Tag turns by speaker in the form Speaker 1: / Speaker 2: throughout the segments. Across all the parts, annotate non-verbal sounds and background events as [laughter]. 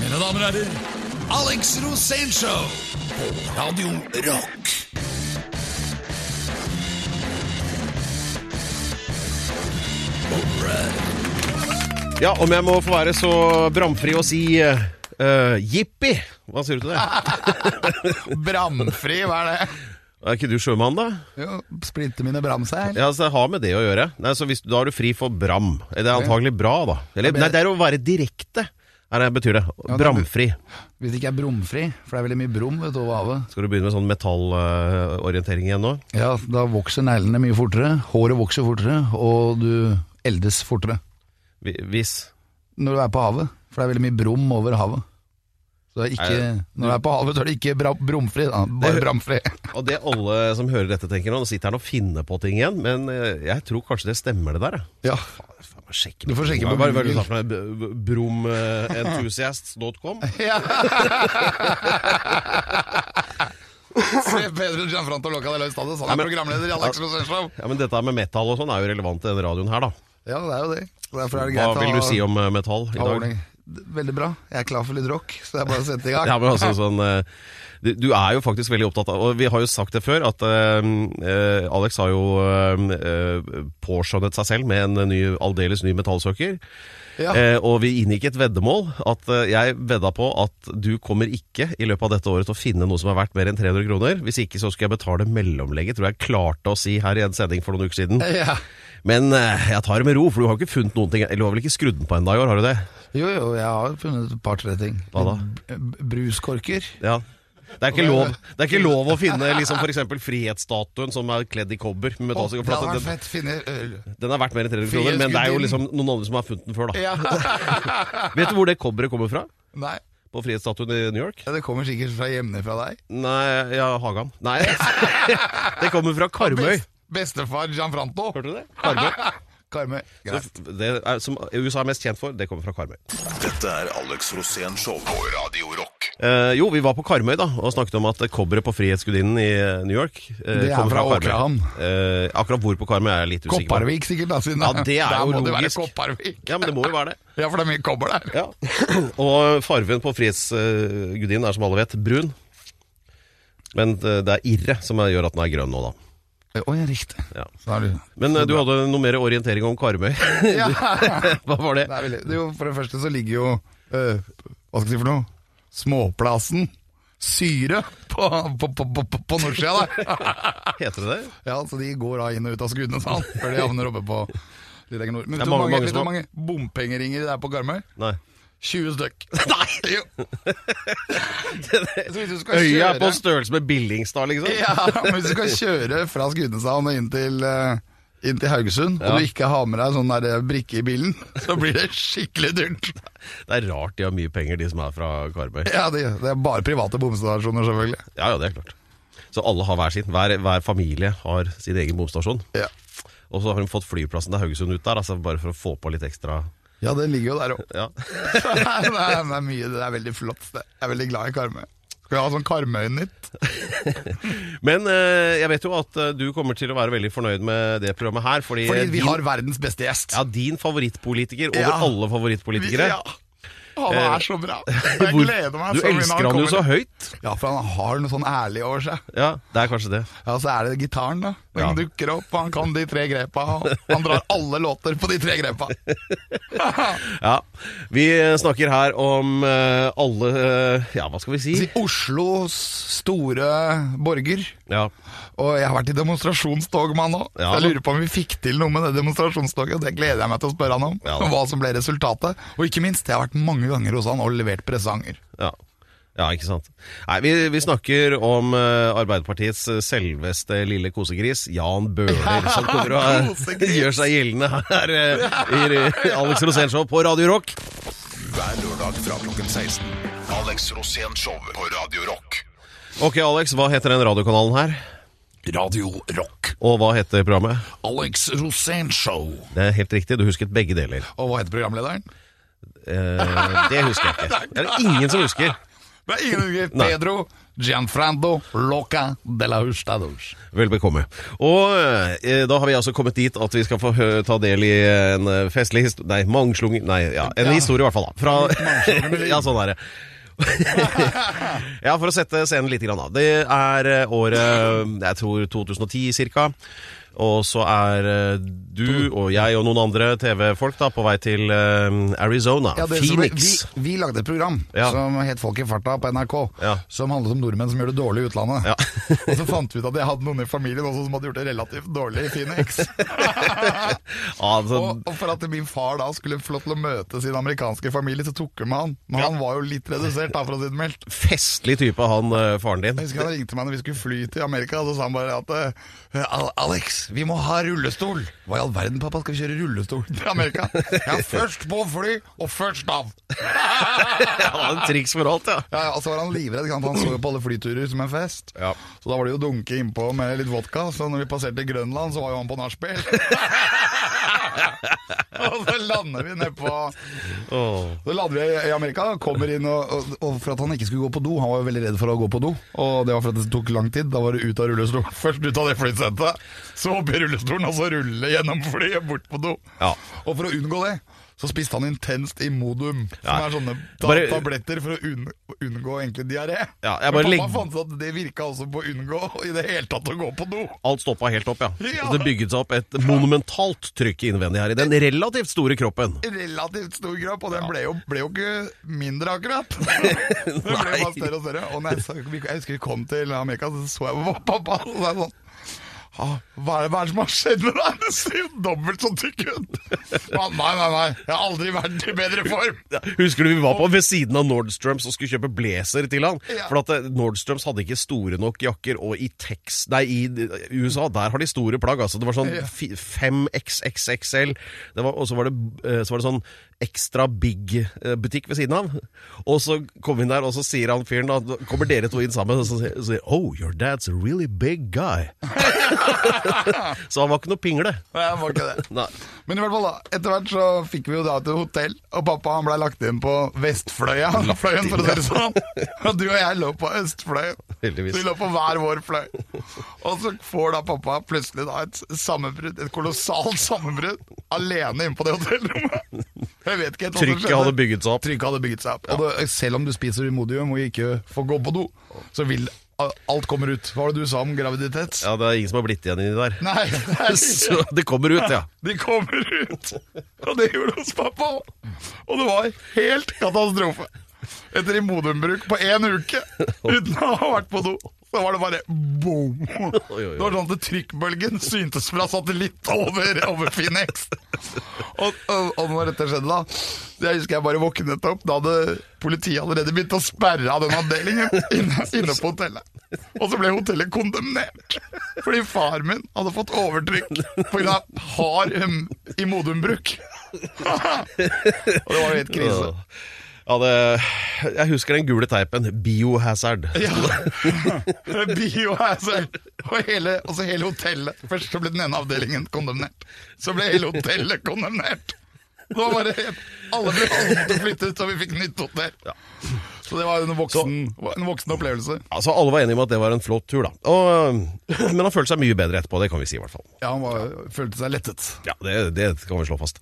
Speaker 1: Mine damer og herrer, Alex Rosénshow på Radio Rock.
Speaker 2: Ja, om jeg må få være så bramfri og si eh, jippi. Hva sier du til det?
Speaker 1: Bramfri, hva er det?
Speaker 2: Er ikke du sjømann, da?
Speaker 1: Jo, Splinte mine bramseil.
Speaker 2: Ja, altså, Det har med det å gjøre. Nei, så hvis, Da er du fri for bram. Det er antagelig bra, da. Eller, nei, det er å være direkte. Nei, det betyr det. Bramfri.
Speaker 1: Hvis det ikke er brumfri, for det er veldig mye brum vet du, over havet.
Speaker 2: Skal du begynne med sånn metallorientering igjen nå?
Speaker 1: Ja, Da vokser neglene mye fortere, håret vokser fortere, og du eldes fortere
Speaker 2: Vi- Hvis
Speaker 1: når du er på havet. For det er veldig mye brum over havet. Så det er ikke,
Speaker 2: Er det-
Speaker 1: når du er på havet, så er det ikke bra, brumfri, da.
Speaker 2: Det-
Speaker 1: Bare bramfri.
Speaker 2: Og det alle som hører dette, tenker nå, nå sitter han og finner på ting igjen, men eh, jeg tror kanskje det stemmer, det der. jeg.
Speaker 1: Ja.
Speaker 2: Faen, jeg må sjekke
Speaker 1: Du får sjekke på
Speaker 2: Hva hva- hva er det du
Speaker 1: Google.
Speaker 2: sa for noe? eh, Bromenthusiast.com?
Speaker 1: [laughs] Se Pedro Gianfranto Locca de Løy Stades, han
Speaker 2: Nei,
Speaker 1: er
Speaker 2: men-
Speaker 1: programleder i Alex Rosenshov.
Speaker 2: Ja, men dette her med metal og sånn er jo relevant til denne radioen her, da.
Speaker 1: Ja, det er jo det. Derfor er det
Speaker 2: Hva
Speaker 1: greit
Speaker 2: vil du si om eh, metall i
Speaker 1: ha
Speaker 2: dag?
Speaker 1: ordning. Veldig bra. Jeg er klar for litt rock, så det er bare å sette i gang.
Speaker 2: Ja, men altså sånn eh, Du du er jo faktisk veldig opptatt av Og vi har jo sagt det før, at eh, eh, Alex har jo eh, eh, påskjønnet seg selv med en ny, aldeles ny metallsøker.
Speaker 1: Ja.
Speaker 2: Eh, og vi inngikk et veddemål. At eh, jeg vedda på at du kommer ikke i løpet av dette året til å finne noe som er verdt mer enn 300 kroner. Hvis ikke så skulle jeg betale mellomlegget, tror jeg klarte å si her i en sending for noen uker siden.
Speaker 1: Ja.
Speaker 2: Men eh, jeg tar det med ro, for du har ikke funnet noen ting Eller du har vel ikke skrudd den på ennå i år, har du det?
Speaker 1: Jo, jo, jeg har funnet et par-tre ting.
Speaker 2: Hva da?
Speaker 1: B- b- Bruskorker.
Speaker 2: Ja det er, ikke lov, det er ikke lov å finne liksom for eksempel frihetsstatuen som er kledd i kobber. Med
Speaker 1: Å,
Speaker 2: metallsikker,
Speaker 1: det
Speaker 2: for
Speaker 1: hadde
Speaker 2: at
Speaker 1: vært
Speaker 2: den,
Speaker 1: fett. Finne øl.
Speaker 2: den er verdt mer enn 300 kroner, men det er jo liksom noen andre som har funnet den før. da
Speaker 1: Ja.
Speaker 2: Vet du hvor det kobberet kommer fra?
Speaker 1: [laughs] Nei,
Speaker 2: På frihetsstatuen i New York?
Speaker 1: ja, det kommer sikkert fra hjemme fra deg.
Speaker 2: Nei, ja, Hagan. Nei, [laughs] det kommer fra Karmøy.
Speaker 1: Best, bestefar Gianfranto.
Speaker 2: Hørte du det?
Speaker 1: [laughs]
Speaker 2: Karmøy.
Speaker 1: Karmøy.
Speaker 2: Det,
Speaker 1: Greit.
Speaker 2: det er, som USA er mest kjent for, det kommer fra Karmøy.
Speaker 3: Dette er Alex Rosén Show på Radio Rock.
Speaker 2: Eh, jo, vi var på Karmøy da og snakket om at kobberet på Frihetsgudinnen i eh, New York eh,
Speaker 1: Det er
Speaker 2: kommer
Speaker 1: fra
Speaker 2: Karmøy.
Speaker 1: Åkrehamn.
Speaker 2: Eh, akkurat hvor på Karmøy er jeg litt usikker på.
Speaker 1: Kopparvik sikkert, da. Siden
Speaker 2: Ja, det er
Speaker 1: Der
Speaker 2: jo
Speaker 1: må det være
Speaker 2: logisk.
Speaker 1: Kopparvik.
Speaker 2: Ja, men det må jo være det.
Speaker 1: Ja, for det er mye kobber der.
Speaker 2: [laughs] Ja. [clears throat] og farven på Frihetsgudinnen er som alle vet brun. Men eh, det er irre som gjør at den er grønn nå, da.
Speaker 1: Å ja, riktig.
Speaker 2: Ja.
Speaker 1: Så er det-
Speaker 2: Men eh, du hadde noe mer orientering om Karmøy.
Speaker 1: [laughs]
Speaker 2: [laughs]
Speaker 1: Ja.
Speaker 2: Hva var det?
Speaker 1: Det er veldig, det er jo, for det første så ligger jo øh, Hva skal jeg si for noe? Småplassen. Syre på, på, på, på, på- på nordsida der.
Speaker 2: Ah, Heter det det?
Speaker 1: Ja, så de går da inn og ut av skuddene sånn, før de havner oppe på Lillehenger Nord. Men
Speaker 2: Det er
Speaker 1: vet du hvor
Speaker 2: mange-
Speaker 1: mange, vet
Speaker 2: mange
Speaker 1: du hvor
Speaker 2: små-
Speaker 1: mange bompengeringer det er på Garmøy?
Speaker 2: Nei.
Speaker 1: 20 stykk. Nei! [laughs] Jo. Så hvis du skal
Speaker 2: Øya er på
Speaker 1: kjøre
Speaker 2: størrelse med Billingstad, liksom.
Speaker 1: [laughs] ja, men hvis du skal kjøre fra Skudeneshavn og inn til, eh, inn til Haugesund, og du ikke har med deg sånn der brikke i bilen, [laughs] så blir det skikkelig dyrt.
Speaker 2: Det er rart de har mye penger, de som er fra Karmøy.
Speaker 1: Ja, det, det er bare private bomstasjoner, selvfølgelig.
Speaker 2: Ja, ja, det er klart. Så alle har hver sin. Hver, hver familie har sin egen bomstasjon.
Speaker 1: Ja.
Speaker 2: Og så har de fått flyplassen til Haugesund ut der, altså bare for å få på litt ekstra
Speaker 1: ja, den ligger jo der [laughs] òg.
Speaker 2: Ja. [laughs]
Speaker 1: det, er- det er mye, det er veldig flott. sted. Jeg er veldig glad i Karmøy. Skal vi ha sånn Karmøy-nytt?
Speaker 2: Men eh, jeg vet jo at eh, du kommer til å være veldig fornøyd med det programmet her, fordi, eh,
Speaker 1: Fordi vi
Speaker 2: din,
Speaker 1: har verdens beste gjest.
Speaker 2: ja, din favorittpolitiker over
Speaker 1: Ja.
Speaker 2: alle
Speaker 1: Vi-
Speaker 2: favorittpolitikere
Speaker 1: Ja. Han
Speaker 2: Eh,
Speaker 1: er så bra. Jeg
Speaker 2: Hvor-
Speaker 1: gleder meg
Speaker 2: Du
Speaker 1: så mye når
Speaker 2: elsker han jo
Speaker 1: kommer.
Speaker 2: så høyt.
Speaker 1: Ja, for han har noe sånn ærlig over seg.
Speaker 2: Ja, det er kanskje det.
Speaker 1: Ja, Så er det gitaren, da. Den
Speaker 2: Ja.
Speaker 1: dukker opp, han kan de tre grepa. og Han drar alle låter på de tre grepa.
Speaker 2: Ja. Vi eh, snakker her om eh, alle eh, Ja, hva skal vi si?
Speaker 1: Si Oslos store borger.
Speaker 2: Ja,
Speaker 1: Og jeg har vært i demonstrasjonstog med han nå.
Speaker 2: Ja,
Speaker 1: Så jeg
Speaker 2: da.
Speaker 1: lurer på om vi fikk til noe med det demonstrasjonstoget. og Det gleder jeg meg til å spørre han om.
Speaker 2: Ja, da.
Speaker 1: og hva som ble resultatet. Og ikke minst, jeg har vært mange ganger hos han og levert presanger.
Speaker 2: ja. Ja, ikke sant. Nei, Vi, vi snakker om eh, Arbeiderpartiets eh, selveste lille kosegris, Jan Bøhler, som kommer og eh,
Speaker 1: Kosegris.
Speaker 2: gjør seg gjeldende her eh, i Alex Rosén Show på Radio Rock.
Speaker 3: Hver lørdag fra klokken 16. Alex Rosén Show på Radio Rock.
Speaker 2: Ok, Alex, hva heter den radiokanalen her?
Speaker 3: Radio Rock.
Speaker 2: Og hva heter programmet?
Speaker 3: Alex Rosén Show.
Speaker 2: Det er helt riktig, du husket begge deler.
Speaker 1: Og hva heter programlederen?
Speaker 2: Eh, det husker jeg ikke. Det er det ingen som husker.
Speaker 1: Det er ingen unge.
Speaker 2: [laughs] Nei.
Speaker 1: Pedro Gianfrando Loca de la Hustados.
Speaker 2: Vel bekomme. Og eh, da har vi altså kommet dit at vi skal få hø ta del i en eh, festlig historie Nei, mangslung... Nei, ja, en
Speaker 1: Ja.
Speaker 2: historie i hvert fall, da. Fra
Speaker 1: Mangslungen.
Speaker 2: [laughs] Ja, sånn er det. ja, for å sette scenen litt, grann, da. Det er eh, året jeg tror 2010 ca. Og så er eh, du og jeg og noen andre TV-folk da på vei til eh, Arizona.
Speaker 1: Ja, det som vi,
Speaker 2: Phoenix.
Speaker 1: vi lagde et program
Speaker 2: Ja.
Speaker 1: som het Folk i farta på NRK,
Speaker 2: Ja.
Speaker 1: som handlet om nordmenn som gjør det dårlig i utlandet.
Speaker 2: Ja.
Speaker 1: [laughs] og så fant vi ut at jeg hadde noen i familien også som hadde gjort det relativt dårlig i
Speaker 2: [laughs]
Speaker 1: Phoenix. [laughs]
Speaker 2: Ja, altså, så,
Speaker 1: og, og for at min far da skulle få lov til å møte sin amerikanske familie, så tok hun med han. Men han var jo litt redusert, da, for å si det mildt.
Speaker 2: festlig type, han eh, faren din.
Speaker 1: Jeg husker han ringte meg når vi skulle fly til Amerika, og så sa han bare at eh, Al Alex, vi må ha rullestol. Hva i all verden, pappa, skal vi kjøre rullestol til Amerika?
Speaker 2: [laughs]
Speaker 1: Ja, først på fly, og først av.
Speaker 2: Han hadde triks for alt, ja.
Speaker 1: Ja, ja, og så var han livredd, ikke sant? han så jo på alle flyturer som en fest.
Speaker 2: Ja.
Speaker 1: Så da var det jo å dunke innpå med litt vodka, så når vi passerte Grønland, så var jo han på nachspiel. [laughs] og så lander vi nedpå
Speaker 2: Åh.
Speaker 1: Så lander vi i Amerika, kommer inn og, og, og for at han ikke skulle gå på do, han var jo veldig redd for å gå på do, og det var for at det tok lang tid, da var det ut av rullestolen. [laughs] Først ut av det flysettet, så opp i rullestolen, og så rulle gjennom flyet bort på do.
Speaker 2: Ja.
Speaker 1: Og for å unngå det, så spiste han intenst Imodum, som
Speaker 2: Ja.
Speaker 1: er sånne ta
Speaker 2: Bare-
Speaker 1: tabletter for å unn unngå egentlig diaré.
Speaker 2: Ja,
Speaker 1: Men
Speaker 2: jeg bare
Speaker 1: pappa
Speaker 2: legg-
Speaker 1: fant ut at det virka også på å unngå i det hele tatt å gå på do.
Speaker 2: Alt stoppa helt opp, ja.
Speaker 1: Ja.
Speaker 2: Så Det bygget seg opp et monumentalt trykk innvendig her i den relativt store kroppen.
Speaker 1: Relativt stor kropp, og den ble jo, ble jo ikke mindre,
Speaker 2: [laughs]
Speaker 1: akkurat. Den ble
Speaker 2: Nei.
Speaker 1: bare større og større. Og når jeg, så, vi- jeg husker vi kom til Amerika, så så jeg på pappa, og så er jeg sånn «Ah, hva er, det, hva er det som har skjedd med deg? Du ser jo dobbelt så tykk ut!
Speaker 2: [laughs]
Speaker 1: Han, Nei, nei, nei, jeg har aldri vært i bedre form!
Speaker 2: Ja, Husker du vi var på ved siden av Nordstrøms og skulle kjøpe blazer til han?
Speaker 1: Ja.
Speaker 2: For at eh, Nordstrøms hadde ikke store nok jakker, og i Tex... Nei, i eh, USA, der har de store plagg, altså. Det var sånn
Speaker 1: Ja.
Speaker 2: 5XXXL, og så var, det, eh, så var det sånn ekstra big-butikk ved siden av. Og så kom vi inn der, og så sier han fyren, da kommer dere to inn sammen, og så sier- så sier Oh, your dad's a really big
Speaker 1: [laughs]
Speaker 2: guy. så han var ikke noe pingle.
Speaker 1: Nei, jeg var ikke det.
Speaker 2: Nei.
Speaker 1: Men i hvert fall da, etter hvert så fikk vi jo da til hotell, og pappa han ble lagt inn på Vestfløya, fløyen for å si det sånn. Og du og jeg lå på Østfløyen.
Speaker 2: Heldigvis.
Speaker 1: Så Vi lå på hver vår fløy. Og så får da pappa plutselig da et sammenbrudd, et kolossalt sammenbrudd, alene inne på det hotellrommet. Jeg vet ikke helt hva som
Speaker 2: Trykket
Speaker 1: skjedde.
Speaker 2: hadde bygget seg opp.
Speaker 1: Trykket hadde bygget seg opp. Og det, selv om du spiser Imodium og ikke får gå på do, så vil alt kommer ut. Hva var det du sa om graviditet?
Speaker 2: Ja, det er ingen som har blitt igjen inni der.
Speaker 1: Nei, det er
Speaker 2: [laughs] Så det kommer ut, ja.
Speaker 1: de kommer ut! Og det gjorde hos pappa òg. Og det var helt katastrofe. Etter Imodum-bruk på én uke uten å ha vært på do. Så var det bare boom! Det
Speaker 2: Oi, oi, oi.
Speaker 1: var sånn at trykkbølgen syntes fra satellitt over, over Phoenix. Og, og, og når dette skjedde, da, jeg husker jeg bare våknet opp. Da hadde politiet allerede begynt å sperre av den avdelingen inne, inne på hotellet. Og så ble hotellet kondemnert fordi far min hadde fått overtrykk pga. hard um, i Modum-bruk. [laughs] og det var jo helt krise.
Speaker 2: Ja, det, jeg husker den gule teipen. Biohazard.
Speaker 1: Ja. [laughs] Biohazard. altså. Og, hele, og så hele hotellet. Først så ble den ene avdelingen kondemnert. Så ble hele hotellet kondemnert. Det var bare helt, alle ble alle måtte flytte ut, og vi fikk nytt hotell. Så det var en voksen, en voksen opplevelse.
Speaker 2: Altså, Alle var enige om at det var en flott tur, da. Og, øh, men han følte seg mye bedre etterpå, det kan vi si i hvert fall.
Speaker 1: Ja, han var, følte seg lettet.
Speaker 2: Ja, Det, det kan vi slå fast.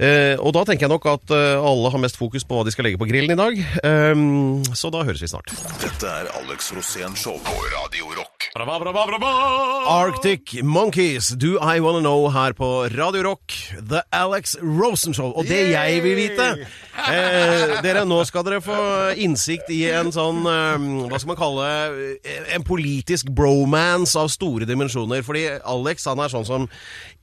Speaker 2: Eh, og da tenker jeg nok at eh, alle har mest fokus på hva de skal legge på grillen i dag. Ehm, så da høres vi snart.
Speaker 3: Dette er Alex Rosén Show på Radio Rock.
Speaker 2: Arctic Monkeys, Do I Wanna Know her på Radio Rock. The Alex Rosen Show. Og det jeg vil vite eh, Dere, nå skal dere få innsikt i en sånn eh, Hva skal man kalle eh, En politisk bromance av store dimensjoner. Fordi Alex han er sånn som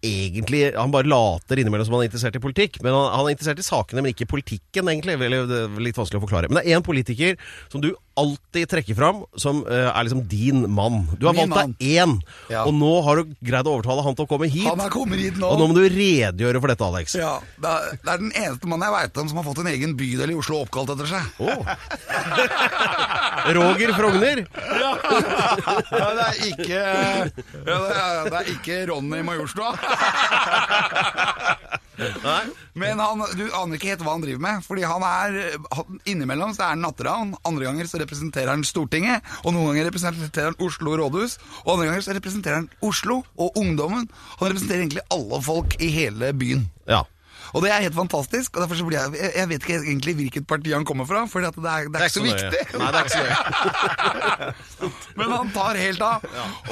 Speaker 2: egentlig Han bare later innimellom som han er interessert i politikk. Men han, han er interessert i sakene, men ikke i politikken, egentlig. Vel, det er Litt vanskelig å forklare. Men det er én politiker som du alltid trekker fram, som eh, er liksom din mann. Du har
Speaker 1: Min
Speaker 2: valgt
Speaker 1: mann.
Speaker 2: deg én,
Speaker 1: Ja.
Speaker 2: og nå har du greid å overtale han til å komme hit.
Speaker 1: Han er kommet hit nå.
Speaker 2: Og nå må du redegjøre for dette, Alex.
Speaker 1: Ja, det er, det er den eneste mannen jeg veit om som har fått en egen bydel i Oslo oppkalt etter seg.
Speaker 2: Roger Frogner.
Speaker 1: Ja, det er ikke, ja, det er, det er ikke Ronny i Majorstua.
Speaker 2: Nei?
Speaker 1: Men han, du aner ikke helt hva han driver med. Fordi han er han- Innimellom så er han natteravn, andre ganger så representerer han Stortinget. Og noen ganger representerer han Oslo rådhus, og andre ganger så representerer han Oslo og ungdommen. Han representerer egentlig alle folk i hele byen.
Speaker 2: Ja.
Speaker 1: Og det er helt fantastisk. Og derfor så blir jeg, jeg, jeg vet ikke egentlig hvilket parti han kommer fra, for det, er- det, er- det er ikke så
Speaker 2: nøye.
Speaker 1: viktig.
Speaker 2: Nei, det er ikke så nøye.
Speaker 1: [laughs] Men han tar helt av.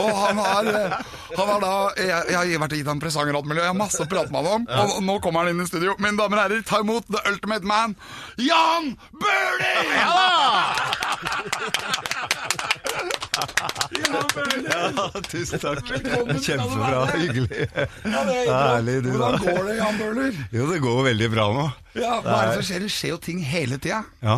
Speaker 1: Og han har, eh, han har da Jeg, jeg har vært og gitt ham presanger og alt mulig, og jeg har masse å prate med ham om. Og nå kommer han inn i studio. Mine damer og herrer, ta imot the ultimate man, Jan Bøhler! Ja
Speaker 4: Tusen takk.
Speaker 1: Velkommen skal du
Speaker 4: Kjempebra.
Speaker 1: være.
Speaker 4: Hyggelig. Herlig,
Speaker 1: Herlig,
Speaker 4: du da.
Speaker 1: Hvordan går det, Jan Bøhler?
Speaker 4: Jo, det går veldig bra nå.
Speaker 1: Ja, hva er det som skjer? Det skjer jo ting hele tida.
Speaker 4: Ja.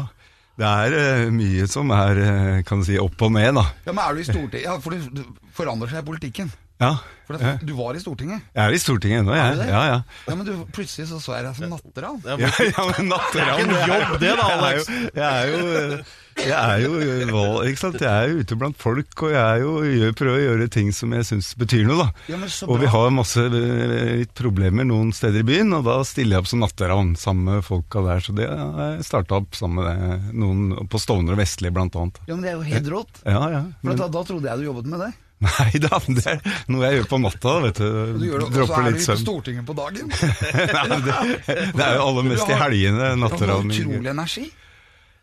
Speaker 4: Det er eh, mye som er eh, kan du si, opp og ned, da.
Speaker 1: Ja, men er du i Stortinget? Ja, for det forandrer seg i politikken.
Speaker 4: Ja.
Speaker 1: For
Speaker 4: eh,
Speaker 1: at du var i Stortinget.
Speaker 4: Jeg er i Stortinget ennå,
Speaker 1: Er du
Speaker 4: jeg.
Speaker 1: det?
Speaker 4: Ja,
Speaker 1: [laughs]
Speaker 4: ja.
Speaker 1: Ja, men du, plutselig så, så jeg deg som natteravn.
Speaker 4: Ja, ja, men
Speaker 2: Det
Speaker 4: natteravn
Speaker 2: er ikke en
Speaker 4: jo-
Speaker 2: jobb, det da, Alex.
Speaker 4: Jeg er jo, jeg er jo, eh, jeg er jo eh, val- ikke sant? Jeg er jo ute blant folk, og jeg er jo, gjør, prøver å gjøre ting som jeg syns betyr noe, da.
Speaker 1: Ja, men så
Speaker 4: og vi
Speaker 1: bra.
Speaker 4: har masse eh, litt problemer noen steder i byen, og da stiller jeg opp som natteravn sammen med folka der. Så det har jeg starta opp sammen med eh, noen på Stovner og Vestli, blant annet.
Speaker 1: Ja, men det er jo helt rått.
Speaker 4: Ja, ja.
Speaker 1: For
Speaker 4: Men,
Speaker 1: at da, da trodde jeg du jobbet med det.
Speaker 4: nei da, det er noe jeg gjør på natta, da, vet du.
Speaker 1: Du gjør det, og så
Speaker 4: Dropper
Speaker 1: er du
Speaker 4: litt
Speaker 1: på
Speaker 4: søvn.
Speaker 1: Stortinget på dagen.
Speaker 4: Nei, det, det er jo aller mest
Speaker 1: Du
Speaker 4: i
Speaker 1: har-
Speaker 4: helgene,
Speaker 1: Du har
Speaker 4: [laughs] natteravn.
Speaker 1: utrolig energi.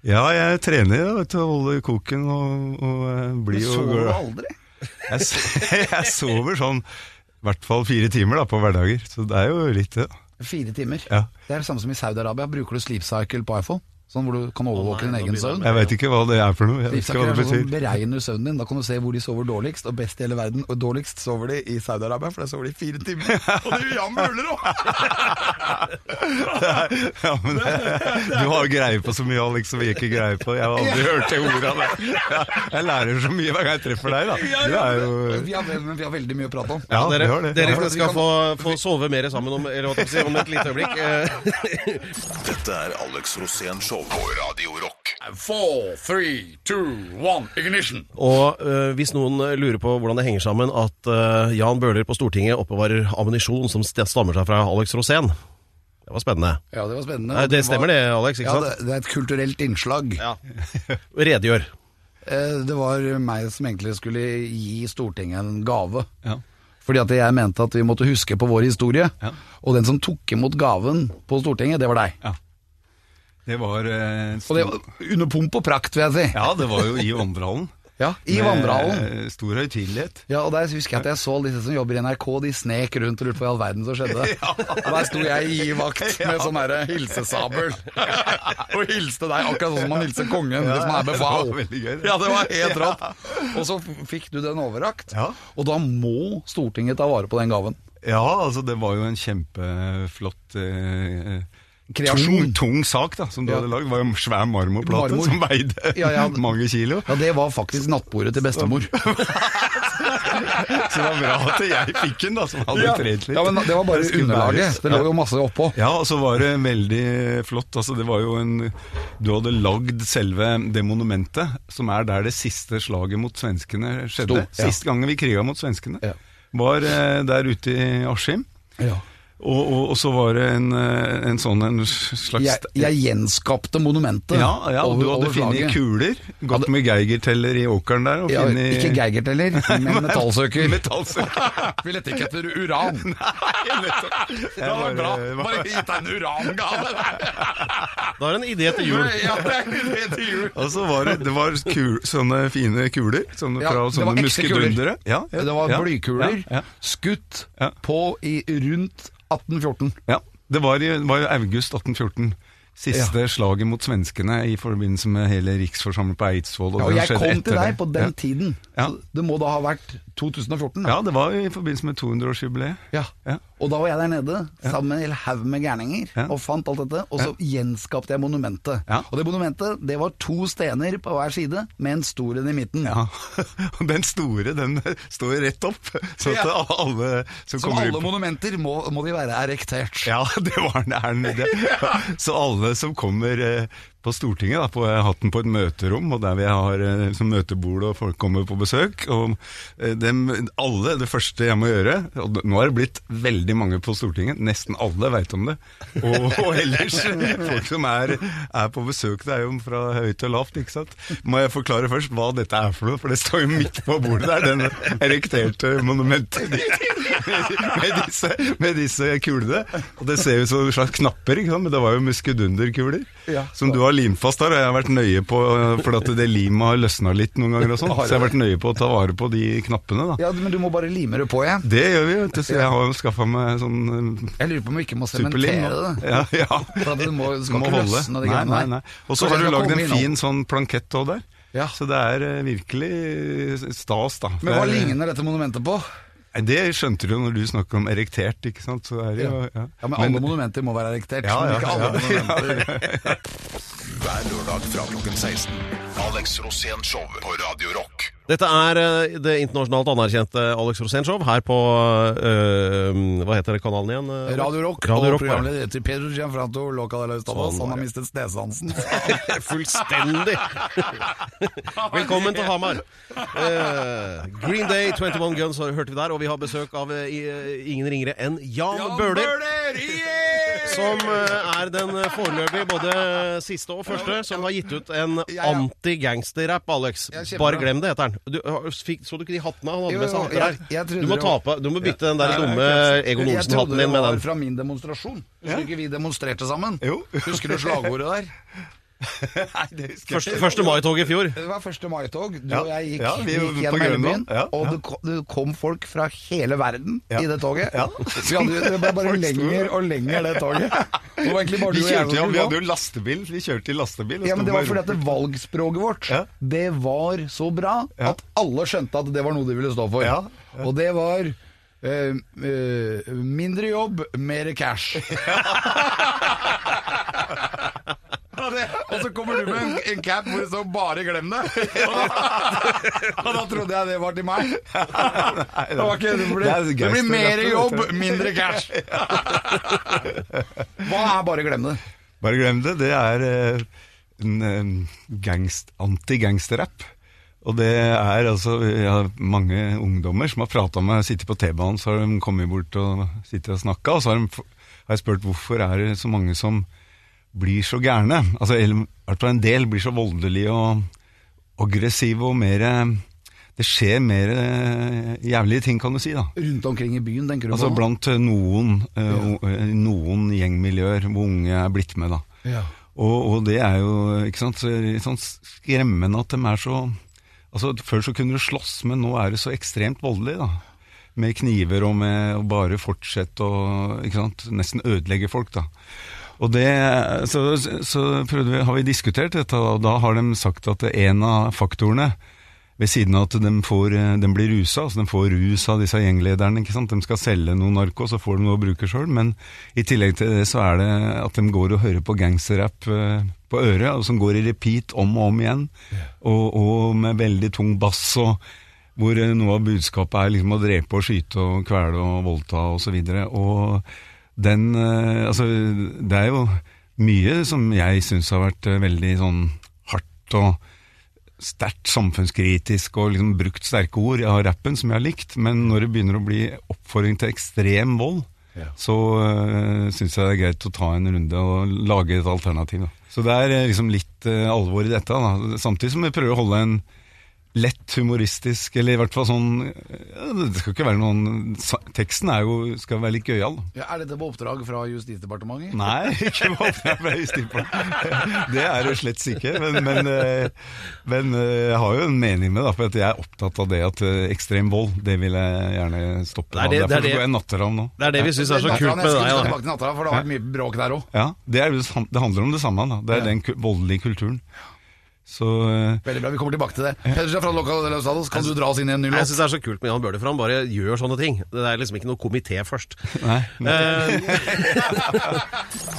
Speaker 4: Ja, jeg trener da, vet du, holder koken og, og eh,
Speaker 1: Du
Speaker 4: blir jo
Speaker 1: sover jo aldri.
Speaker 4: Jeg, s- [laughs] jeg sover sånn i hvert fall fire timer da, på hverdager, så det er jo litt det. da.
Speaker 1: Fire timer.
Speaker 4: Ja.
Speaker 1: Det er det samme som i Saudi-Arabia. Bruker du sleep cycle på iPhone? Sånn hvor du kan overvåke
Speaker 2: Å,
Speaker 1: din
Speaker 2: nei,
Speaker 1: egen
Speaker 2: da
Speaker 1: søvn?
Speaker 2: begynner
Speaker 4: Jeg veit ikke hva det er for noe. Jeg
Speaker 1: Sleep
Speaker 4: vet ikke
Speaker 1: cycle
Speaker 4: hva
Speaker 1: er
Speaker 4: det
Speaker 1: sånn som
Speaker 4: betyr. [laughs]
Speaker 1: beregner søvnen din. Da kan du se hvor de sover dårligst og best i hele verden. Og dårligst sover de i Saudi-Arabia, for der sover de fire timer. Og det gjør Jan Bøhler òg!
Speaker 4: Ja,
Speaker 1: sånn
Speaker 4: men det, [laughs] du har jo greie på så mye, Alex, som vi ikke greier på. Jeg har aldri hørt det ordet av deg. [laughs] Ja, Jeg lærer så mye hver gang jeg treffer deg, da. Du er jo
Speaker 1: Vi, har- men vi har veldig mye å prate om.
Speaker 4: Ja,
Speaker 2: Ja,
Speaker 4: vi har
Speaker 2: dere,
Speaker 4: det.
Speaker 2: dere
Speaker 1: Ja, for at vi
Speaker 2: skal
Speaker 1: kan-
Speaker 2: få, få sove mer sammen om, eller hva skal jeg si, om et lite
Speaker 1: [laughs]
Speaker 2: øyeblikk. Eh,
Speaker 3: Dette er Alex Rosén Show på Radio Rock.
Speaker 5: Four, three, two, one, ignition.
Speaker 2: Og eh, hvis noen eh, lurer på hvordan det henger sammen at eh, Jan Bøhler på Stortinget oppbevarer ammunisjon som st- stammer seg fra Alex Rosén Det var spennende.
Speaker 1: Ja, det var spennende.
Speaker 2: Nei, det stemmer det, Alex, ikke
Speaker 1: Ja,
Speaker 2: sant?
Speaker 1: det, det er et kulturelt innslag.
Speaker 2: Ja. Redegjør.
Speaker 1: Eh, Det var meg som egentlig skulle gi Stortinget en gave.
Speaker 4: Ja.
Speaker 1: Fordi at jeg mente at vi måtte huske på vår historie.
Speaker 4: Ja.
Speaker 1: Og den som tok imot gaven på Stortinget, det var deg.
Speaker 4: Det var eh, en
Speaker 1: Og det
Speaker 4: stor-
Speaker 1: var under pomp og prakt, vil jeg si.
Speaker 4: Ja, det var jo i Vandrehallen.
Speaker 1: Ja, [laughs] I
Speaker 4: Med,
Speaker 1: vandrehallen.
Speaker 4: eh, Stor høytidelighet.
Speaker 1: Ja, og der husker jeg at jeg så alle disse som jobber i NRK, de snek rundt og lurte på hva i all verden som
Speaker 2: [laughs]
Speaker 1: skjedde. Og der sto jeg i vakt med sånn derre
Speaker 2: [laughs]
Speaker 1: hilsesabel. og hilste deg akkurat sånn som man hilser kongen, det som er
Speaker 4: det
Speaker 1: befal.
Speaker 4: var veldig gøy, det.
Speaker 1: Ja, det var helt rått. Og så fikk du den overrakt,
Speaker 4: Ja.
Speaker 1: og da må Stortinget ta vare på den gaven.
Speaker 4: Ja, altså det var jo en kjempeflott eh,
Speaker 1: Kreasjon.
Speaker 4: Tung, tung sak da, som du
Speaker 1: Ja.
Speaker 4: hadde lagd. Det var jo en svær marmorplate
Speaker 1: Marmor.
Speaker 4: som veide
Speaker 1: Ja, ja.
Speaker 4: mange kilo.
Speaker 1: Ja, det var faktisk nattbordet til
Speaker 4: [laughs]
Speaker 1: bestemor.
Speaker 4: Så det var bra at jeg fikk den, da, som hadde trent litt.
Speaker 1: Ja, men Det var bare
Speaker 4: Det skulle
Speaker 1: underlaget.
Speaker 4: bæres.
Speaker 1: Det lå jo masse oppå.
Speaker 4: Ja, og så var det veldig flott. Altså, det var jo en, du hadde lagd selve det monumentet, som er der det siste slaget mot svenskene
Speaker 1: Sto,
Speaker 4: skjedde.
Speaker 1: ja.
Speaker 4: Siste gangen vi kriga mot svenskene,
Speaker 1: Ja.
Speaker 4: var eh, der ute i Askim.
Speaker 1: Ja.
Speaker 4: Og, og, og så var det en, eh, en sånn en slags
Speaker 1: Jeg, jeg gjenskapte monumentet
Speaker 4: ja, ja, og du hadde
Speaker 1: slaget.
Speaker 4: funnet kuler. Gått
Speaker 1: Hadde-
Speaker 4: med geigerteller i åkeren der. Og
Speaker 1: Ja,
Speaker 4: funnet
Speaker 1: ikke
Speaker 4: [laughs]
Speaker 1: geigerteller, men metallsøker.
Speaker 4: metallsøker.
Speaker 1: Vi lette ikke etter
Speaker 4: [laughs]
Speaker 1: uran.
Speaker 4: Det var bra.
Speaker 1: Bare gitt deg en urangave.
Speaker 2: Da er det en idé til jul.
Speaker 1: Ja, det er det til jul.
Speaker 4: Og så var det, det var kul, sånne fine kuler sånne
Speaker 1: Ja, det
Speaker 4: fra
Speaker 1: var
Speaker 4: sånne
Speaker 1: ekte
Speaker 4: muskedundere. Ja, ja,
Speaker 1: Det var
Speaker 4: ja,
Speaker 1: blykuler
Speaker 4: Ja, ja,
Speaker 1: skutt
Speaker 4: Ja.
Speaker 1: på i rundt 1814.
Speaker 4: ja. Det var i, var i august 1814. Siste slaget mot svenskene i forbindelse med hele riksforsamlingen på Eidsvoll.
Speaker 1: Ja, og
Speaker 4: det
Speaker 1: jeg
Speaker 4: som skjedde
Speaker 1: kom til
Speaker 4: etter
Speaker 1: deg
Speaker 4: det.
Speaker 1: på
Speaker 4: Ja.
Speaker 1: den tiden.
Speaker 4: Ja.
Speaker 1: Så det må da ha vært 2014.
Speaker 4: Ja, det var i forbindelse med 200-årsjubileet.
Speaker 1: Ja.
Speaker 4: Ja.
Speaker 1: Og da var jeg der nede sammen med en hel haug med gærninger
Speaker 4: Ja.
Speaker 1: og fant alt dette. Og så gjenskapte jeg monumentet.
Speaker 4: Ja.
Speaker 1: Og det monumentet det var to stener på hver side med en stor en i midten.
Speaker 4: Ja, [laughs] og den store den står rett opp, så at
Speaker 1: Ja.
Speaker 4: alle som,
Speaker 1: Som
Speaker 4: kommer
Speaker 1: alle
Speaker 4: inn på
Speaker 1: monumenter må,
Speaker 4: [laughs]
Speaker 1: må de være erektert.
Speaker 4: ja, det var den er den. det- Så alle som kommer eh, på Stortinget. Da, på, jeg har hatt den på et møterom, og der vi har eh, liksom, møtebord og folk kommer på besøk. Og eh, dem, alle, det første jeg må gjøre og d- Nå har det blitt veldig mange på Stortinget, nesten alle veit om det. Og, og ellers, folk som er, er på besøk, det er jo fra høyt og lavt, ikke sant. Må jeg forklare først hva dette er for noe, for det står jo midt på bordet der, den erekterte monumentet med disse, med disse kulene. Og det ser ut som slags knapper, ikke sant? men det var jo muskudunderkuler. Som du har limt fast der, og jeg har vært nøye på For at det limet har løsna litt noen ganger og sånn. Så jeg har vært nøye på å ta vare på de knappene, da.
Speaker 1: Ja, men du må bare lime det på igjen.
Speaker 4: Det gjør vi, vet du. Så jeg har jo skaffa meg sånn eh,
Speaker 1: Jeg lurer på om vi ikke må
Speaker 4: superlim.
Speaker 1: sementere
Speaker 4: nå.
Speaker 1: det.
Speaker 4: Ja, ja.
Speaker 1: For at det må, det skal
Speaker 4: Må
Speaker 1: ikke
Speaker 4: holde.
Speaker 1: løsne, de
Speaker 4: Nei,
Speaker 1: greiene
Speaker 4: nei,
Speaker 1: der.
Speaker 4: nei. Og så
Speaker 1: Kanskje
Speaker 4: har
Speaker 1: det
Speaker 4: du
Speaker 1: skal
Speaker 4: lagd
Speaker 1: komme
Speaker 4: en
Speaker 1: innom.
Speaker 4: fin sånn plankett òg der.
Speaker 1: Ja.
Speaker 4: Så det er eh, virkelig eh, stas, da.
Speaker 1: Men hva
Speaker 4: Det er- eh,
Speaker 1: ligner dette monumentet på?
Speaker 4: Nei, Det skjønte du jo når du snakker om erektert, ikke sant? Så det er jo, ja.
Speaker 1: Ja, men alle monumenter må være erektert.
Speaker 4: Ja,
Speaker 1: men
Speaker 4: ja,
Speaker 1: ikke alle
Speaker 4: [laughs] ja.
Speaker 1: monumenter.
Speaker 3: Hver lørdag fra klokken 16. Alex Rosén Show på Radio Rock.
Speaker 2: Dette er eh, det internasjonalt anerkjente Alex Rosénshow her på eh, Hva heter det kanalen igjen? eh?
Speaker 1: Radio Rock
Speaker 2: Radio
Speaker 1: og
Speaker 2: Rock, ja.
Speaker 1: programleder til Pedro Gianfranto Loca de la Hustavas. Han
Speaker 2: Sånn var
Speaker 1: har
Speaker 2: det.
Speaker 1: mistet snesansen.
Speaker 2: [laughs]
Speaker 1: [laughs]
Speaker 2: Fullstendig! Velkommen til Hamar. Eh, Green Day, 21 Guns har- hørte vi der, og vi har besøk av eh, i- ingen ringere enn Jan, Bøhler. Som eh, er den eh, foreløpig både eh, siste og første som har gitt ut en
Speaker 1: ja.
Speaker 2: anti-gangster-rapp, Alex.
Speaker 1: Ja, kjempebra.
Speaker 2: Bare glem det, heter den. Du, eh, har- fikk, så du ikke de hattene han hadde
Speaker 1: Jo,
Speaker 2: med seg?
Speaker 1: jo,
Speaker 2: hatter
Speaker 1: jeg-
Speaker 2: her?
Speaker 1: jeg trodde
Speaker 2: du, må
Speaker 1: det
Speaker 2: ta
Speaker 1: var-
Speaker 2: på, du må bytte den der
Speaker 1: Nei,
Speaker 2: dumme Egon
Speaker 1: Jeg trodde
Speaker 2: Olsen-hatten
Speaker 1: det
Speaker 2: din med
Speaker 1: var
Speaker 2: den.
Speaker 1: fra min demonstrasjon. Husker ikke vi demonstrerte sammen?
Speaker 4: Jo.
Speaker 1: Husker du slagordet der?
Speaker 4: Nei, det husker jeg
Speaker 2: Første, første mai-tog i fjor.
Speaker 1: Det var første mai-tog. Du
Speaker 4: Ja.
Speaker 1: og jeg gikk,
Speaker 4: Ja, vi
Speaker 1: gikk
Speaker 4: på
Speaker 1: gjennom hele
Speaker 4: Grønland.
Speaker 1: byen,
Speaker 4: Ja,
Speaker 1: og
Speaker 4: ja.
Speaker 1: det kom, det kom folk fra hele verden
Speaker 4: Ja.
Speaker 1: i det toget.
Speaker 4: Ja.
Speaker 1: Så vi hadde, det ble bare
Speaker 4: Folk sto-
Speaker 1: lenger og lenger, det toget. Det var egentlig bare
Speaker 4: Vi
Speaker 1: du og jeg som
Speaker 4: kjørte jo, vi
Speaker 1: skulle
Speaker 4: hadde
Speaker 1: gå.
Speaker 4: jo lastebil, vi kjørte i lastebil. og
Speaker 1: Ja, men
Speaker 4: sto
Speaker 1: det var
Speaker 4: bare
Speaker 1: fordi at det valgspråket vårt
Speaker 4: Ja.
Speaker 1: Det var så bra
Speaker 4: Ja.
Speaker 1: at alle skjønte at det var noe de ville stå for.
Speaker 4: Ja.
Speaker 1: Og det var eh, eh, mindre jobb, mer
Speaker 4: [laughs]
Speaker 1: cash. Og det- Og så kommer du med en, en cap hvor det står 'bare glem det'. Og da, [laughs] og da trodde jeg det var til meg.
Speaker 4: Nei,
Speaker 1: Det, var ikke, det, blir,
Speaker 4: er
Speaker 1: det blir
Speaker 4: gangster,
Speaker 1: mer
Speaker 4: dette,
Speaker 1: jobb,
Speaker 4: vet du.
Speaker 1: mindre
Speaker 4: [laughs]
Speaker 1: cash. Hva er 'bare glem det'?
Speaker 4: Bare glem det. Det er eh, en eh, gangst, anti-gangsterrapp. Og det er altså jeg har mange ungdommer som har prata med meg, sittet på T-banen, så har de kommet bort og sittet og snakka, og så har, de, f- har jeg spurt hvorfor er det så mange som blir så gærne? Altså, eller, i hvert fall en del blir så voldelige og aggressive og mer eh, Det skjer mer eh, jævlige ting, kan du si, da.
Speaker 1: Rundt omkring i byen, tenker du
Speaker 4: Altså
Speaker 1: på? nå?
Speaker 4: blant eh, noen, eh, o- eh, noen gjengmiljøer hvor unge er blitt med, da.
Speaker 1: Ja.
Speaker 4: Og, og det er jo ikke sant, så er det litt sånn skremmende at de er så Altså Før så kunne du slåss, men nå er det så ekstremt voldelig. da Med kniver og med å bare fortsette å ikke sant, nesten ødelegge folk. da Og det, Så, så prøvde vi, har vi diskutert dette, og da har de sagt at en av faktorene ved siden av at de, får, de blir rusa, altså de får rus av disse gjenglederne. ikke sant? De skal selge noe narko, så får de noe å bruke sjøl. Men i tillegg til det så er det at de går og hører på gangsterrapp eh, på øret, og som går i repeat om og om igjen. Og, og med veldig tung bass, og hvor eh, noe av budskapet er liksom å drepe og skyte og kvele og voldta osv. Og, så videre. og den eh, Altså, det er jo mye som jeg syns har vært eh, veldig sånn hardt og sterkt samfunnskritisk og liksom brukt sterke ord av rappen som jeg har likt, men når det begynner å bli oppfordring til ekstrem vold, så øh, syns jeg det er greit å ta en runde og lage et alternativ. Da. Så det er øh, liksom litt øh, alvor i dette, da. samtidig som vi prøver å holde en lett humoristisk, eller i hvert fall sånn ja, Det skal ikke være noen sa- Teksten er jo, skal være litt gøyal. da.
Speaker 1: Ja, er dette på oppdrag fra Justisdepartementet?
Speaker 4: Nei, ikke hva jeg ble stiv på. Det er det slett ikke. Men, men, eh, men eh, jeg har jo en mening med det, for at jeg er opptatt av det at eh, ekstrem vold, det vil jeg gjerne stoppe.
Speaker 2: Det er det-
Speaker 4: da.
Speaker 2: det er
Speaker 4: Derfor
Speaker 2: det-
Speaker 4: går jeg natteravn nå.
Speaker 2: Det er det vi syns er så
Speaker 1: Nathan,
Speaker 2: kult med
Speaker 1: jeg skulle
Speaker 2: deg. da.
Speaker 1: tilbake til Nathan, for det har vært mye bråk der òg.
Speaker 4: Ja, det, er, jo det sam- det handler om det samme. Da. Det er den ku- voldelige kulturen. Så eh,
Speaker 1: Veldig bra, vi kommer tilbake til det. Pedersen fra Loca de los Hados, kan du dra oss inn i en ny
Speaker 2: Jeg
Speaker 1: låt?
Speaker 2: syns det er så kult med Jan Bøhler, for han bare gjør sånne ting. Det er liksom ikke noe komité først.
Speaker 4: Nei.
Speaker 2: Eh,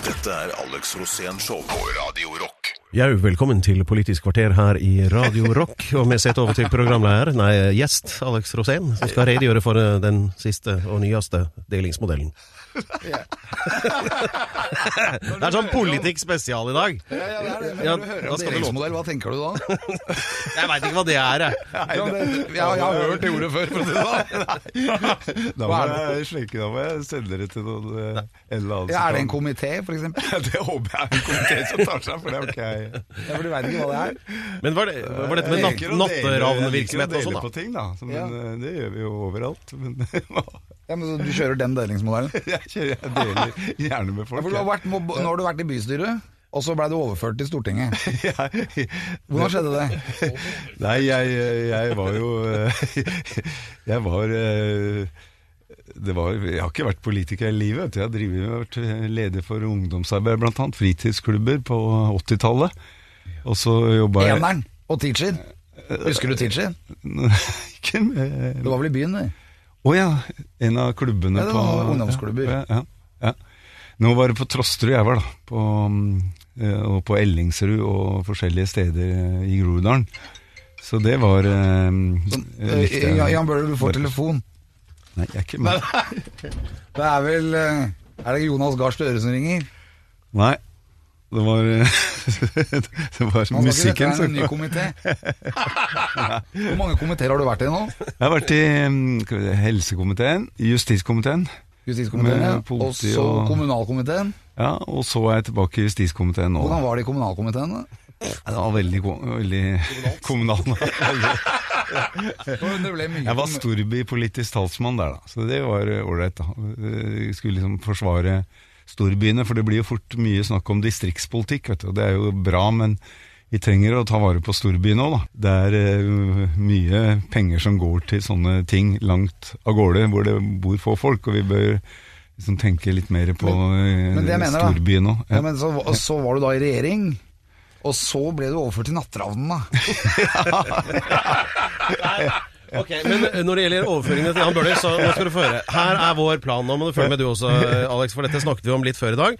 Speaker 3: Dette er Alex Rosén Show på Radio Rock.
Speaker 2: Jau, velkommen til Politisk kvarter her i Radio Rock. Og vi setter over til programleder, nei, gjest Alex Rosén, som skal redegjøre for eh, den siste og nyeste delingsmodellen. Det er sånn politikk spesial i dag. Ja, da skal det låte.
Speaker 1: Delingsmodell, hva tenker [laughs] du da?
Speaker 2: Jeg veit ikke hva det er, jeg.
Speaker 1: Ja, det, jeg, jeg har hørt det ordet før, for å si det sånn.
Speaker 4: Da må
Speaker 1: Hva er
Speaker 4: jeg slenge, da må jeg sende det til noen eh, eller annen.
Speaker 1: [laughs] Ja, sånn.
Speaker 4: som
Speaker 1: er det en
Speaker 4: kan-
Speaker 1: komité, for eksempel?
Speaker 4: [laughs] Det håper jeg er en komité som tar seg, for det er ok.
Speaker 1: Ja, for du vet ikke hva det er.
Speaker 2: Men var, det, var dette med
Speaker 4: Jeg
Speaker 2: natt,
Speaker 4: liker å dele-
Speaker 2: natteravnvirksomhet og
Speaker 4: Jeg liker å dele på
Speaker 2: sånn, da?
Speaker 4: ting, da. Så, men
Speaker 1: Ja.
Speaker 4: eh, det gjør vi jo overalt. Men [laughs]
Speaker 1: Ja, men så Du kjører den delingsmodellen?
Speaker 4: jeg, kjører, jeg deler gjerne med
Speaker 1: Ja,
Speaker 4: folk.
Speaker 1: for du har vært, nå har du vært i bystyret, og så blei du overført til Stortinget.
Speaker 4: jeg, [laughs] jeg,
Speaker 1: Hvordan skjedde det?
Speaker 4: Nei, jeg, jeg var jo eh, [laughs] Jeg var eh, det var, jeg har ikke vært politiker i livet. vet du. Jeg har drivet, jeg har vært eh, leder for ungdomsarbeid, bl.a. fritidsklubber på 80-tallet. Og så jobba jeg
Speaker 1: Eneren og teacher. Husker du teacher?
Speaker 4: Ikke med-
Speaker 1: Det var vel i byen, det.
Speaker 4: Å ja, en av klubbene
Speaker 1: Ja, det
Speaker 4: på
Speaker 1: var ungdomsklubber.
Speaker 4: Ja, ja, ja. Nå var det på Trosterud jeg var, da. På, mm, eh, og på Ellingsrud og forskjellige steder eh, i Groruddalen. Så det var eh, likte jeg.
Speaker 1: Eh, Jan Bøhler, du får telefon.
Speaker 4: Nei, jeg er ikke med.
Speaker 1: Det er vel eh, Er det ikke Jonas Gahr Støre som ringer?
Speaker 4: Nei. Det var, eh, [laughs] det var
Speaker 1: Han sa ikke dette
Speaker 4: musikken
Speaker 1: er
Speaker 4: som
Speaker 1: en ny
Speaker 4: [laughs]
Speaker 1: komité. Hvor mange komiteer har du vært i nå?
Speaker 4: Jeg har vært i mm, skal vi se, helsekomiteen, justiskomiteen,
Speaker 1: Justiskomiteen,
Speaker 4: Med
Speaker 1: ja.
Speaker 4: politi
Speaker 1: Og så
Speaker 4: og-
Speaker 1: kommunalkomiteen.
Speaker 4: ja, og så er jeg tilbake i justiskomiteen nå.
Speaker 1: Hvordan var det i kommunalkomiteen? da?
Speaker 4: Ja, Det var veldig, ko- veldig [laughs] kommunalt.
Speaker 1: Det ble mye
Speaker 4: Jeg var storbypolitisk talsmann der, da. Så det var eh, ålreit, da. Eh, Skulle liksom forsvare storbyene, for det blir jo fort mye snakk om distriktspolitikk, vet du. Og det er jo bra, men vi trenger å ta vare på storbyene òg, da. Det er eh, mye penger som går til sånne ting langt av gårde, hvor det bor få folk, og vi bør liksom tenke litt mer på eh,
Speaker 1: men det jeg mener, da.
Speaker 4: storbyen òg.
Speaker 1: ja, men så, og så var du da i regjering, og så ble du overført til Natteravnen, da.
Speaker 2: Ok, Men eh, [laughs] når det gjelder overføringene til Jan Bøhler, så nå skal du få høre. Her er vår plan. Nå må du følge med du også, eh, Alex, for dette snakket vi om litt før i dag.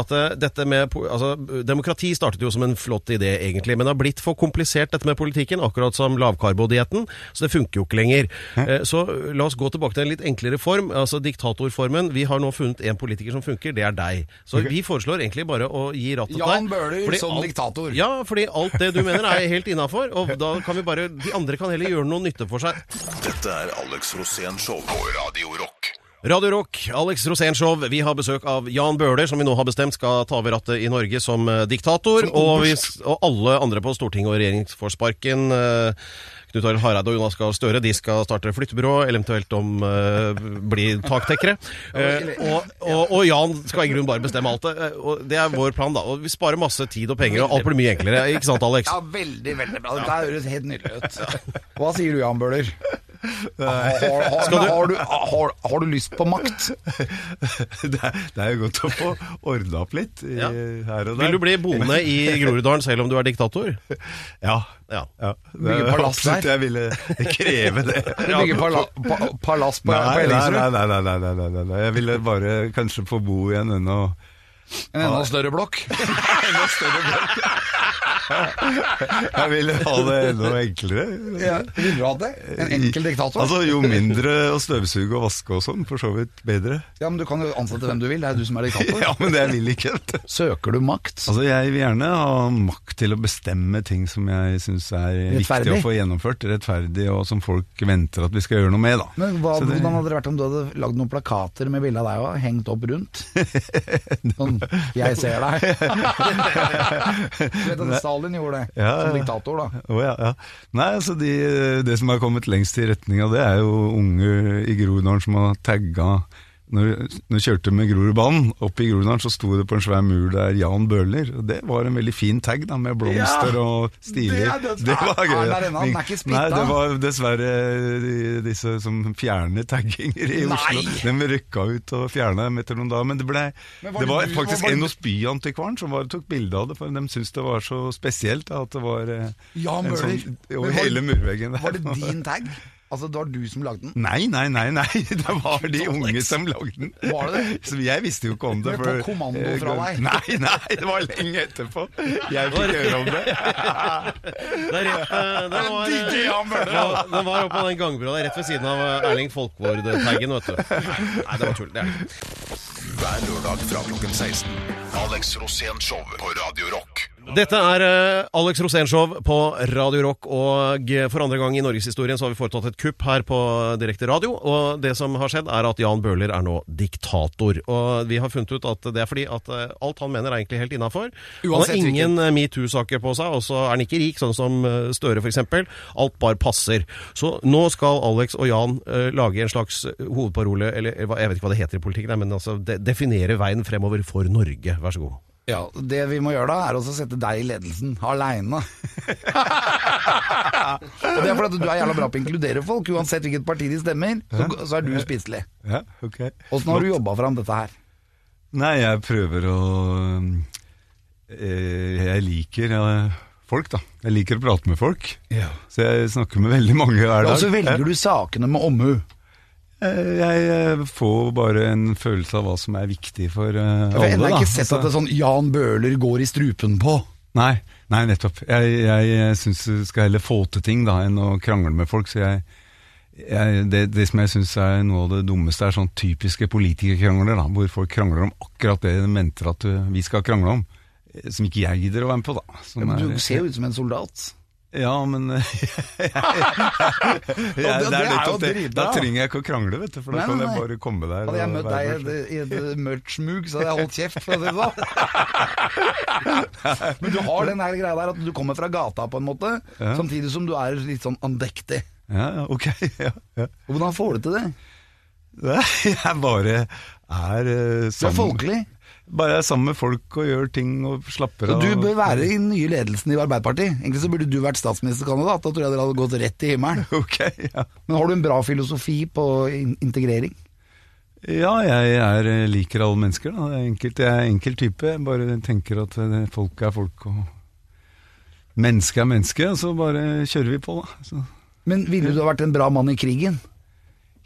Speaker 2: At eh, dette med po- altså, eh, Demokrati startet jo som en flott idé, egentlig. Men det har blitt for komplisert, dette med politikken. Akkurat som lavkarbodietten. Så det funker jo ikke lenger. Eh, Så eh, la oss gå tilbake til en litt enklere form. Altså diktatorformen. Vi har nå funnet en politiker som funker. Det er deg. Så vi foreslår egentlig bare å gi rattet til deg.
Speaker 1: Jan Bøhler
Speaker 2: fordi
Speaker 1: som
Speaker 2: alt-
Speaker 1: diktator.
Speaker 2: Ja, fordi alt det du mener er helt innafor. Og da kan vi bare De andre kan heller gjøre noe nytte for seg.
Speaker 3: Dette er Alex Rosén Show på Radio Rock.
Speaker 2: Radio Rock, Alex Rosénshow. Vi har besøk av Jan Bøhler, som vi nå har bestemt skal ta over rattet i Norge som eh, diktator. og, vi, og alle andre på Stortinget og regjeringsforsparken. eh, Knut Arild Hareide og Jonas Gahr Støre de skal starte flyttebyrå, eller eventuelt om eh, bli taktekkere. Eh, og, og, og Jan skal i grunnen bare bestemme alt det. eh, og det er vår plan, da. Og vi sparer masse tid og penger, og alt blir mye enklere. Ikke sant, Alex?
Speaker 1: Ja, veldig, veldig bra. Dette høres helt nydelig ut. Hva sier du, Jan Bøhler? Har, har, har, har, du, har, har du lyst på makt?
Speaker 4: [laughs] det, er, det er jo godt å få ordna opp litt i,
Speaker 2: Ja.
Speaker 4: her og der.
Speaker 2: Vil du bli boende i Groruddalen selv om du er diktator?
Speaker 4: Ja.
Speaker 2: Ja.
Speaker 4: ja. Det
Speaker 1: Bygge
Speaker 4: er
Speaker 1: palass der?
Speaker 4: absolutt jeg ville kreve
Speaker 1: [laughs]
Speaker 4: det.
Speaker 1: Du bygger pala, pa, palass på, på
Speaker 4: Nei, nei, nei,
Speaker 1: Ellingsrud?
Speaker 4: nei, nei, nei, nei, nei, nei, nei. Jeg ville bare kanskje få bo i en ennå
Speaker 1: En enda større blokk?
Speaker 4: Enda større blokk. Jeg ville ha det enda enklere.
Speaker 1: [laughs] Ja, Ville du hatt det? En enkel diktator?
Speaker 4: Altså, jo mindre å støvsuge og vaske og sånn, for så vidt
Speaker 1: [laughs]
Speaker 4: bedre.
Speaker 1: Ja, men Du kan jo ansette hvem du vil, det er du som er diktator.
Speaker 4: [laughs] Ja, men det vil jeg ikke. vet du.
Speaker 1: Søker du makt?
Speaker 4: Altså, jeg vil gjerne ha makt til å bestemme ting som jeg syns er viktig
Speaker 1: Rettferdig.
Speaker 4: å få gjennomført, rettferdig, og som folk venter at vi skal gjøre noe med, da.
Speaker 1: Men hva,
Speaker 4: Så det-
Speaker 1: Hvordan hadde det vært om du hadde lagd noen plakater med bilde av deg og hengt opp
Speaker 4: [laughs]
Speaker 1: rundt? Sånn 'Jeg ser deg'. du vet at Stalin gjorde det,
Speaker 4: Ja,
Speaker 1: som
Speaker 4: ja.
Speaker 1: diktator.
Speaker 4: [laughs]
Speaker 1: da
Speaker 4: Å, ja, ja. Nei, altså de, Det som har kommet lengst i retning av det, er jo unge i Groruddalen som har tagga når, når jeg kjørte med Grorudbanen opp i Groruddalen, så sto det på en svær mur der 'Jan Bøhler'. Og det var en veldig fin tag, da, med blomster
Speaker 1: Ja,
Speaker 4: og
Speaker 1: det
Speaker 4: stiler.
Speaker 1: er det-
Speaker 4: var gøy.
Speaker 1: Er
Speaker 4: da.
Speaker 1: der ennå? Den er ikke splitta?
Speaker 4: Nei, det var dessverre de, disse som fjerner tagginger i
Speaker 1: Nei!
Speaker 4: Oslo. De rykka ut og fjerna dem etter noen dager. Men det, ble,
Speaker 1: Men var
Speaker 4: det
Speaker 1: det
Speaker 4: var
Speaker 1: du-
Speaker 4: faktisk
Speaker 1: var det-
Speaker 4: en hos byantikvaren som var, tok bilde av det, for de syntes det var så spesielt da, at det var eh,
Speaker 1: Jan
Speaker 4: en
Speaker 1: Bøhler.
Speaker 4: sånn-
Speaker 1: Men
Speaker 4: Over
Speaker 1: var-
Speaker 4: hele murveggen der.
Speaker 1: Var det din tag? Altså, det var du som lagde den?
Speaker 4: [laughs] Nei, nei, nei, [laughs] nei. det var de unge som lagde den.
Speaker 1: Var det det?
Speaker 4: [laughs] Så jeg visste jo ikke om det.
Speaker 1: Det
Speaker 4: Eh,
Speaker 1: ble på kommando fra deg.
Speaker 4: Nei, [laughs] nei, det var lenge etterpå. Jeg fikk høre om det.
Speaker 1: [laughs]
Speaker 2: Det er rett, eh, det var,
Speaker 1: digger Jan Bøhler,
Speaker 2: det var- det var oppå den gangbrua rett ved siden av eh, Erling Folkvord-taggen, vet du. Nei, det var tull. Det er det ikke.
Speaker 3: Hver lørdag fra klokken 16. Alex Rosén Show på Radio Rock.
Speaker 2: Dette er eh, Alex Rosénshow på Radio Rock, og eh, for andre gang i norgeshistorien så har vi foretatt et kupp her på direkte radio. Og det som har skjedd, er at Jan Bøhler er nå diktator. Og vi har funnet ut at det er fordi at eh, alt han mener er egentlig helt innafor. Han har
Speaker 1: Uansett hvilken.
Speaker 2: ingen eh, metoo-saker på seg, og så er han ikke rik, sånn som eh, Støre f.eks. Alt bare passer. Så nå skal Alex og Jan eh, lage en slags hovedparole, eller eh, hva- jeg vet ikke hva det heter i politikken, men altså de definere veien fremover for Norge. Vær så god.
Speaker 1: Ja, Det vi må gjøre da, er også å sette deg i ledelsen, aleine. Og det er fordi at du er jævla bra på å inkludere folk. Uansett hvilket parti de stemmer, så, så er du spiselig.
Speaker 4: Ja, ok.
Speaker 1: Åssen har du jobba fram dette her?
Speaker 4: Nei, jeg prøver å eh, Jeg liker eh, folk, da. Jeg liker å prate med folk. Så jeg snakker med veldig mange hver dag.
Speaker 1: Og så velger du sakene med omhu.
Speaker 4: Jeg, jeg, eh, får bare en følelse av hva som er viktig for eh,
Speaker 1: For
Speaker 4: alle.
Speaker 1: jeg har
Speaker 4: da.
Speaker 1: ikke sett at det er sånn Jan Bøhler går i strupen på.
Speaker 4: Nei, nei nettopp. Jeg, jeg syns du skal heller få til ting da, enn å krangle med folk. Så jeg, jeg, det, det som jeg syns er noe av det dummeste, er sånn typiske politikerkrangler. Da, hvor folk krangler om akkurat det de venter at du- vi skal krangle om. eh, Som ikke jeg gidder å være med på, da. Som
Speaker 1: Men
Speaker 4: er-
Speaker 1: Du ser jo ut som en soldat.
Speaker 4: Ja, men [laughs] jeg,
Speaker 1: Ja, det-
Speaker 4: det er
Speaker 1: det er jo
Speaker 4: nettopp det. Da
Speaker 1: dritbra.
Speaker 4: trenger jeg ikke å krangle, vet du. For da
Speaker 1: Nei,
Speaker 4: kan
Speaker 1: nei,
Speaker 4: jeg
Speaker 1: nei.
Speaker 4: bare komme der.
Speaker 1: Hadde jeg
Speaker 4: og
Speaker 1: møtt
Speaker 4: være
Speaker 1: deg i et- i et mørkt smug, så hadde jeg holdt kjeft. For å si det sånn.
Speaker 4: [laughs]
Speaker 1: Men du har den her greia der at du kommer fra gata, på en måte,
Speaker 4: Ja.
Speaker 1: samtidig som du er litt sånn andektig.
Speaker 4: Ja, ja, ok. [laughs] Ja, ja.
Speaker 1: Hvordan får du til det?
Speaker 4: Nei, Jeg bare er eh,
Speaker 1: Du er
Speaker 4: sammen,
Speaker 1: folkelig.
Speaker 4: bare er sammen med folk og gjør ting og slapper
Speaker 1: Så
Speaker 4: av.
Speaker 1: du bør være i den nye ledelsen i Arbeiderpartiet. Egentlig så burde du vært statsministerkandidat. Da tror jeg dere hadde gått rett i himmelen.
Speaker 4: [laughs] Ok, ja.
Speaker 1: Men har du en bra filosofi på in- integrering?
Speaker 4: Ja, jeg er, eh, liker alle mennesker. Da. Jeg er enkelt, jeg er enkel type. Jeg bare tenker at eh, folk er folk og menneske er menneske, og så bare kjører vi på, da. Så.
Speaker 1: Men ville du ha vært en bra mann i krigen?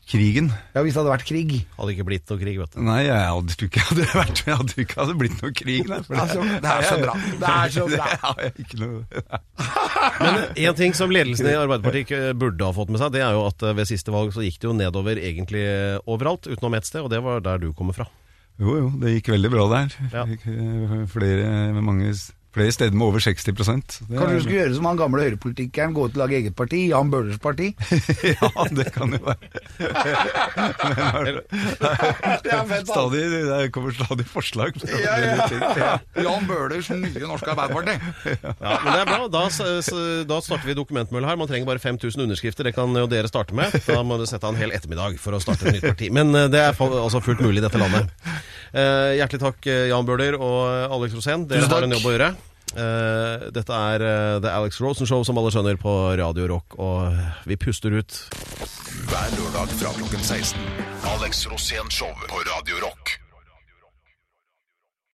Speaker 4: Krigen.
Speaker 1: Ja, hvis det hadde vært krig.
Speaker 2: Hadde ikke blitt noe krig, vet du.
Speaker 4: Nei, jeg hadde tror ikke [laughs] jeg hadde vært Jeg hadde ikke hadde blitt noe krig, nei. for
Speaker 1: Det er så- det er så bra. Det er så bra.
Speaker 4: [laughs] Det har jeg ikke noe
Speaker 2: En ting som ledelsen i Arbeiderpartiet ikke burde ha fått med seg, det er jo at eh, ved siste valg så gikk det jo nedover egentlig eh, overalt, utenom ett sted, og det var der du kommer fra.
Speaker 4: Jo, jo, det gikk veldig bra der.
Speaker 2: Ja.
Speaker 4: Fikk, eh, Flere, mange, flere steder med over 60 så
Speaker 1: Kanskje
Speaker 4: det er-
Speaker 1: du skulle gjøre som han gamle høyrepolitikeren, gå ut og lage eget parti, Jan Bøhlers parti.
Speaker 4: [laughs] Ja, det kan jo være. Stadig, det kommer stadig forslag. fra flere ting.
Speaker 1: Jan Bøhlers nye norske Arbeiderparti.
Speaker 2: Ja, men det er bra. Da, s- s- da starter vi dokumentmølle her. Man trenger bare 5000 underskrifter, det kan jo dere starte med. Da må du sette av en hel ettermiddag for å starte et nytt parti. Men eh, det er fa- altså fullt mulig i dette landet. Eh, hjertelig takk, eh, Jan Bøhler og Alex Rosén. Dere
Speaker 1: Tusen
Speaker 2: har en
Speaker 1: takk.
Speaker 2: jobb å gjøre. Eh, dette er eh, The Alex Rosen Show, som alle skjønner, på Radio Rock, og vi puster ut.
Speaker 3: Hver lørdag fra klokken 16. Alex Rosén Show på Radio Rock.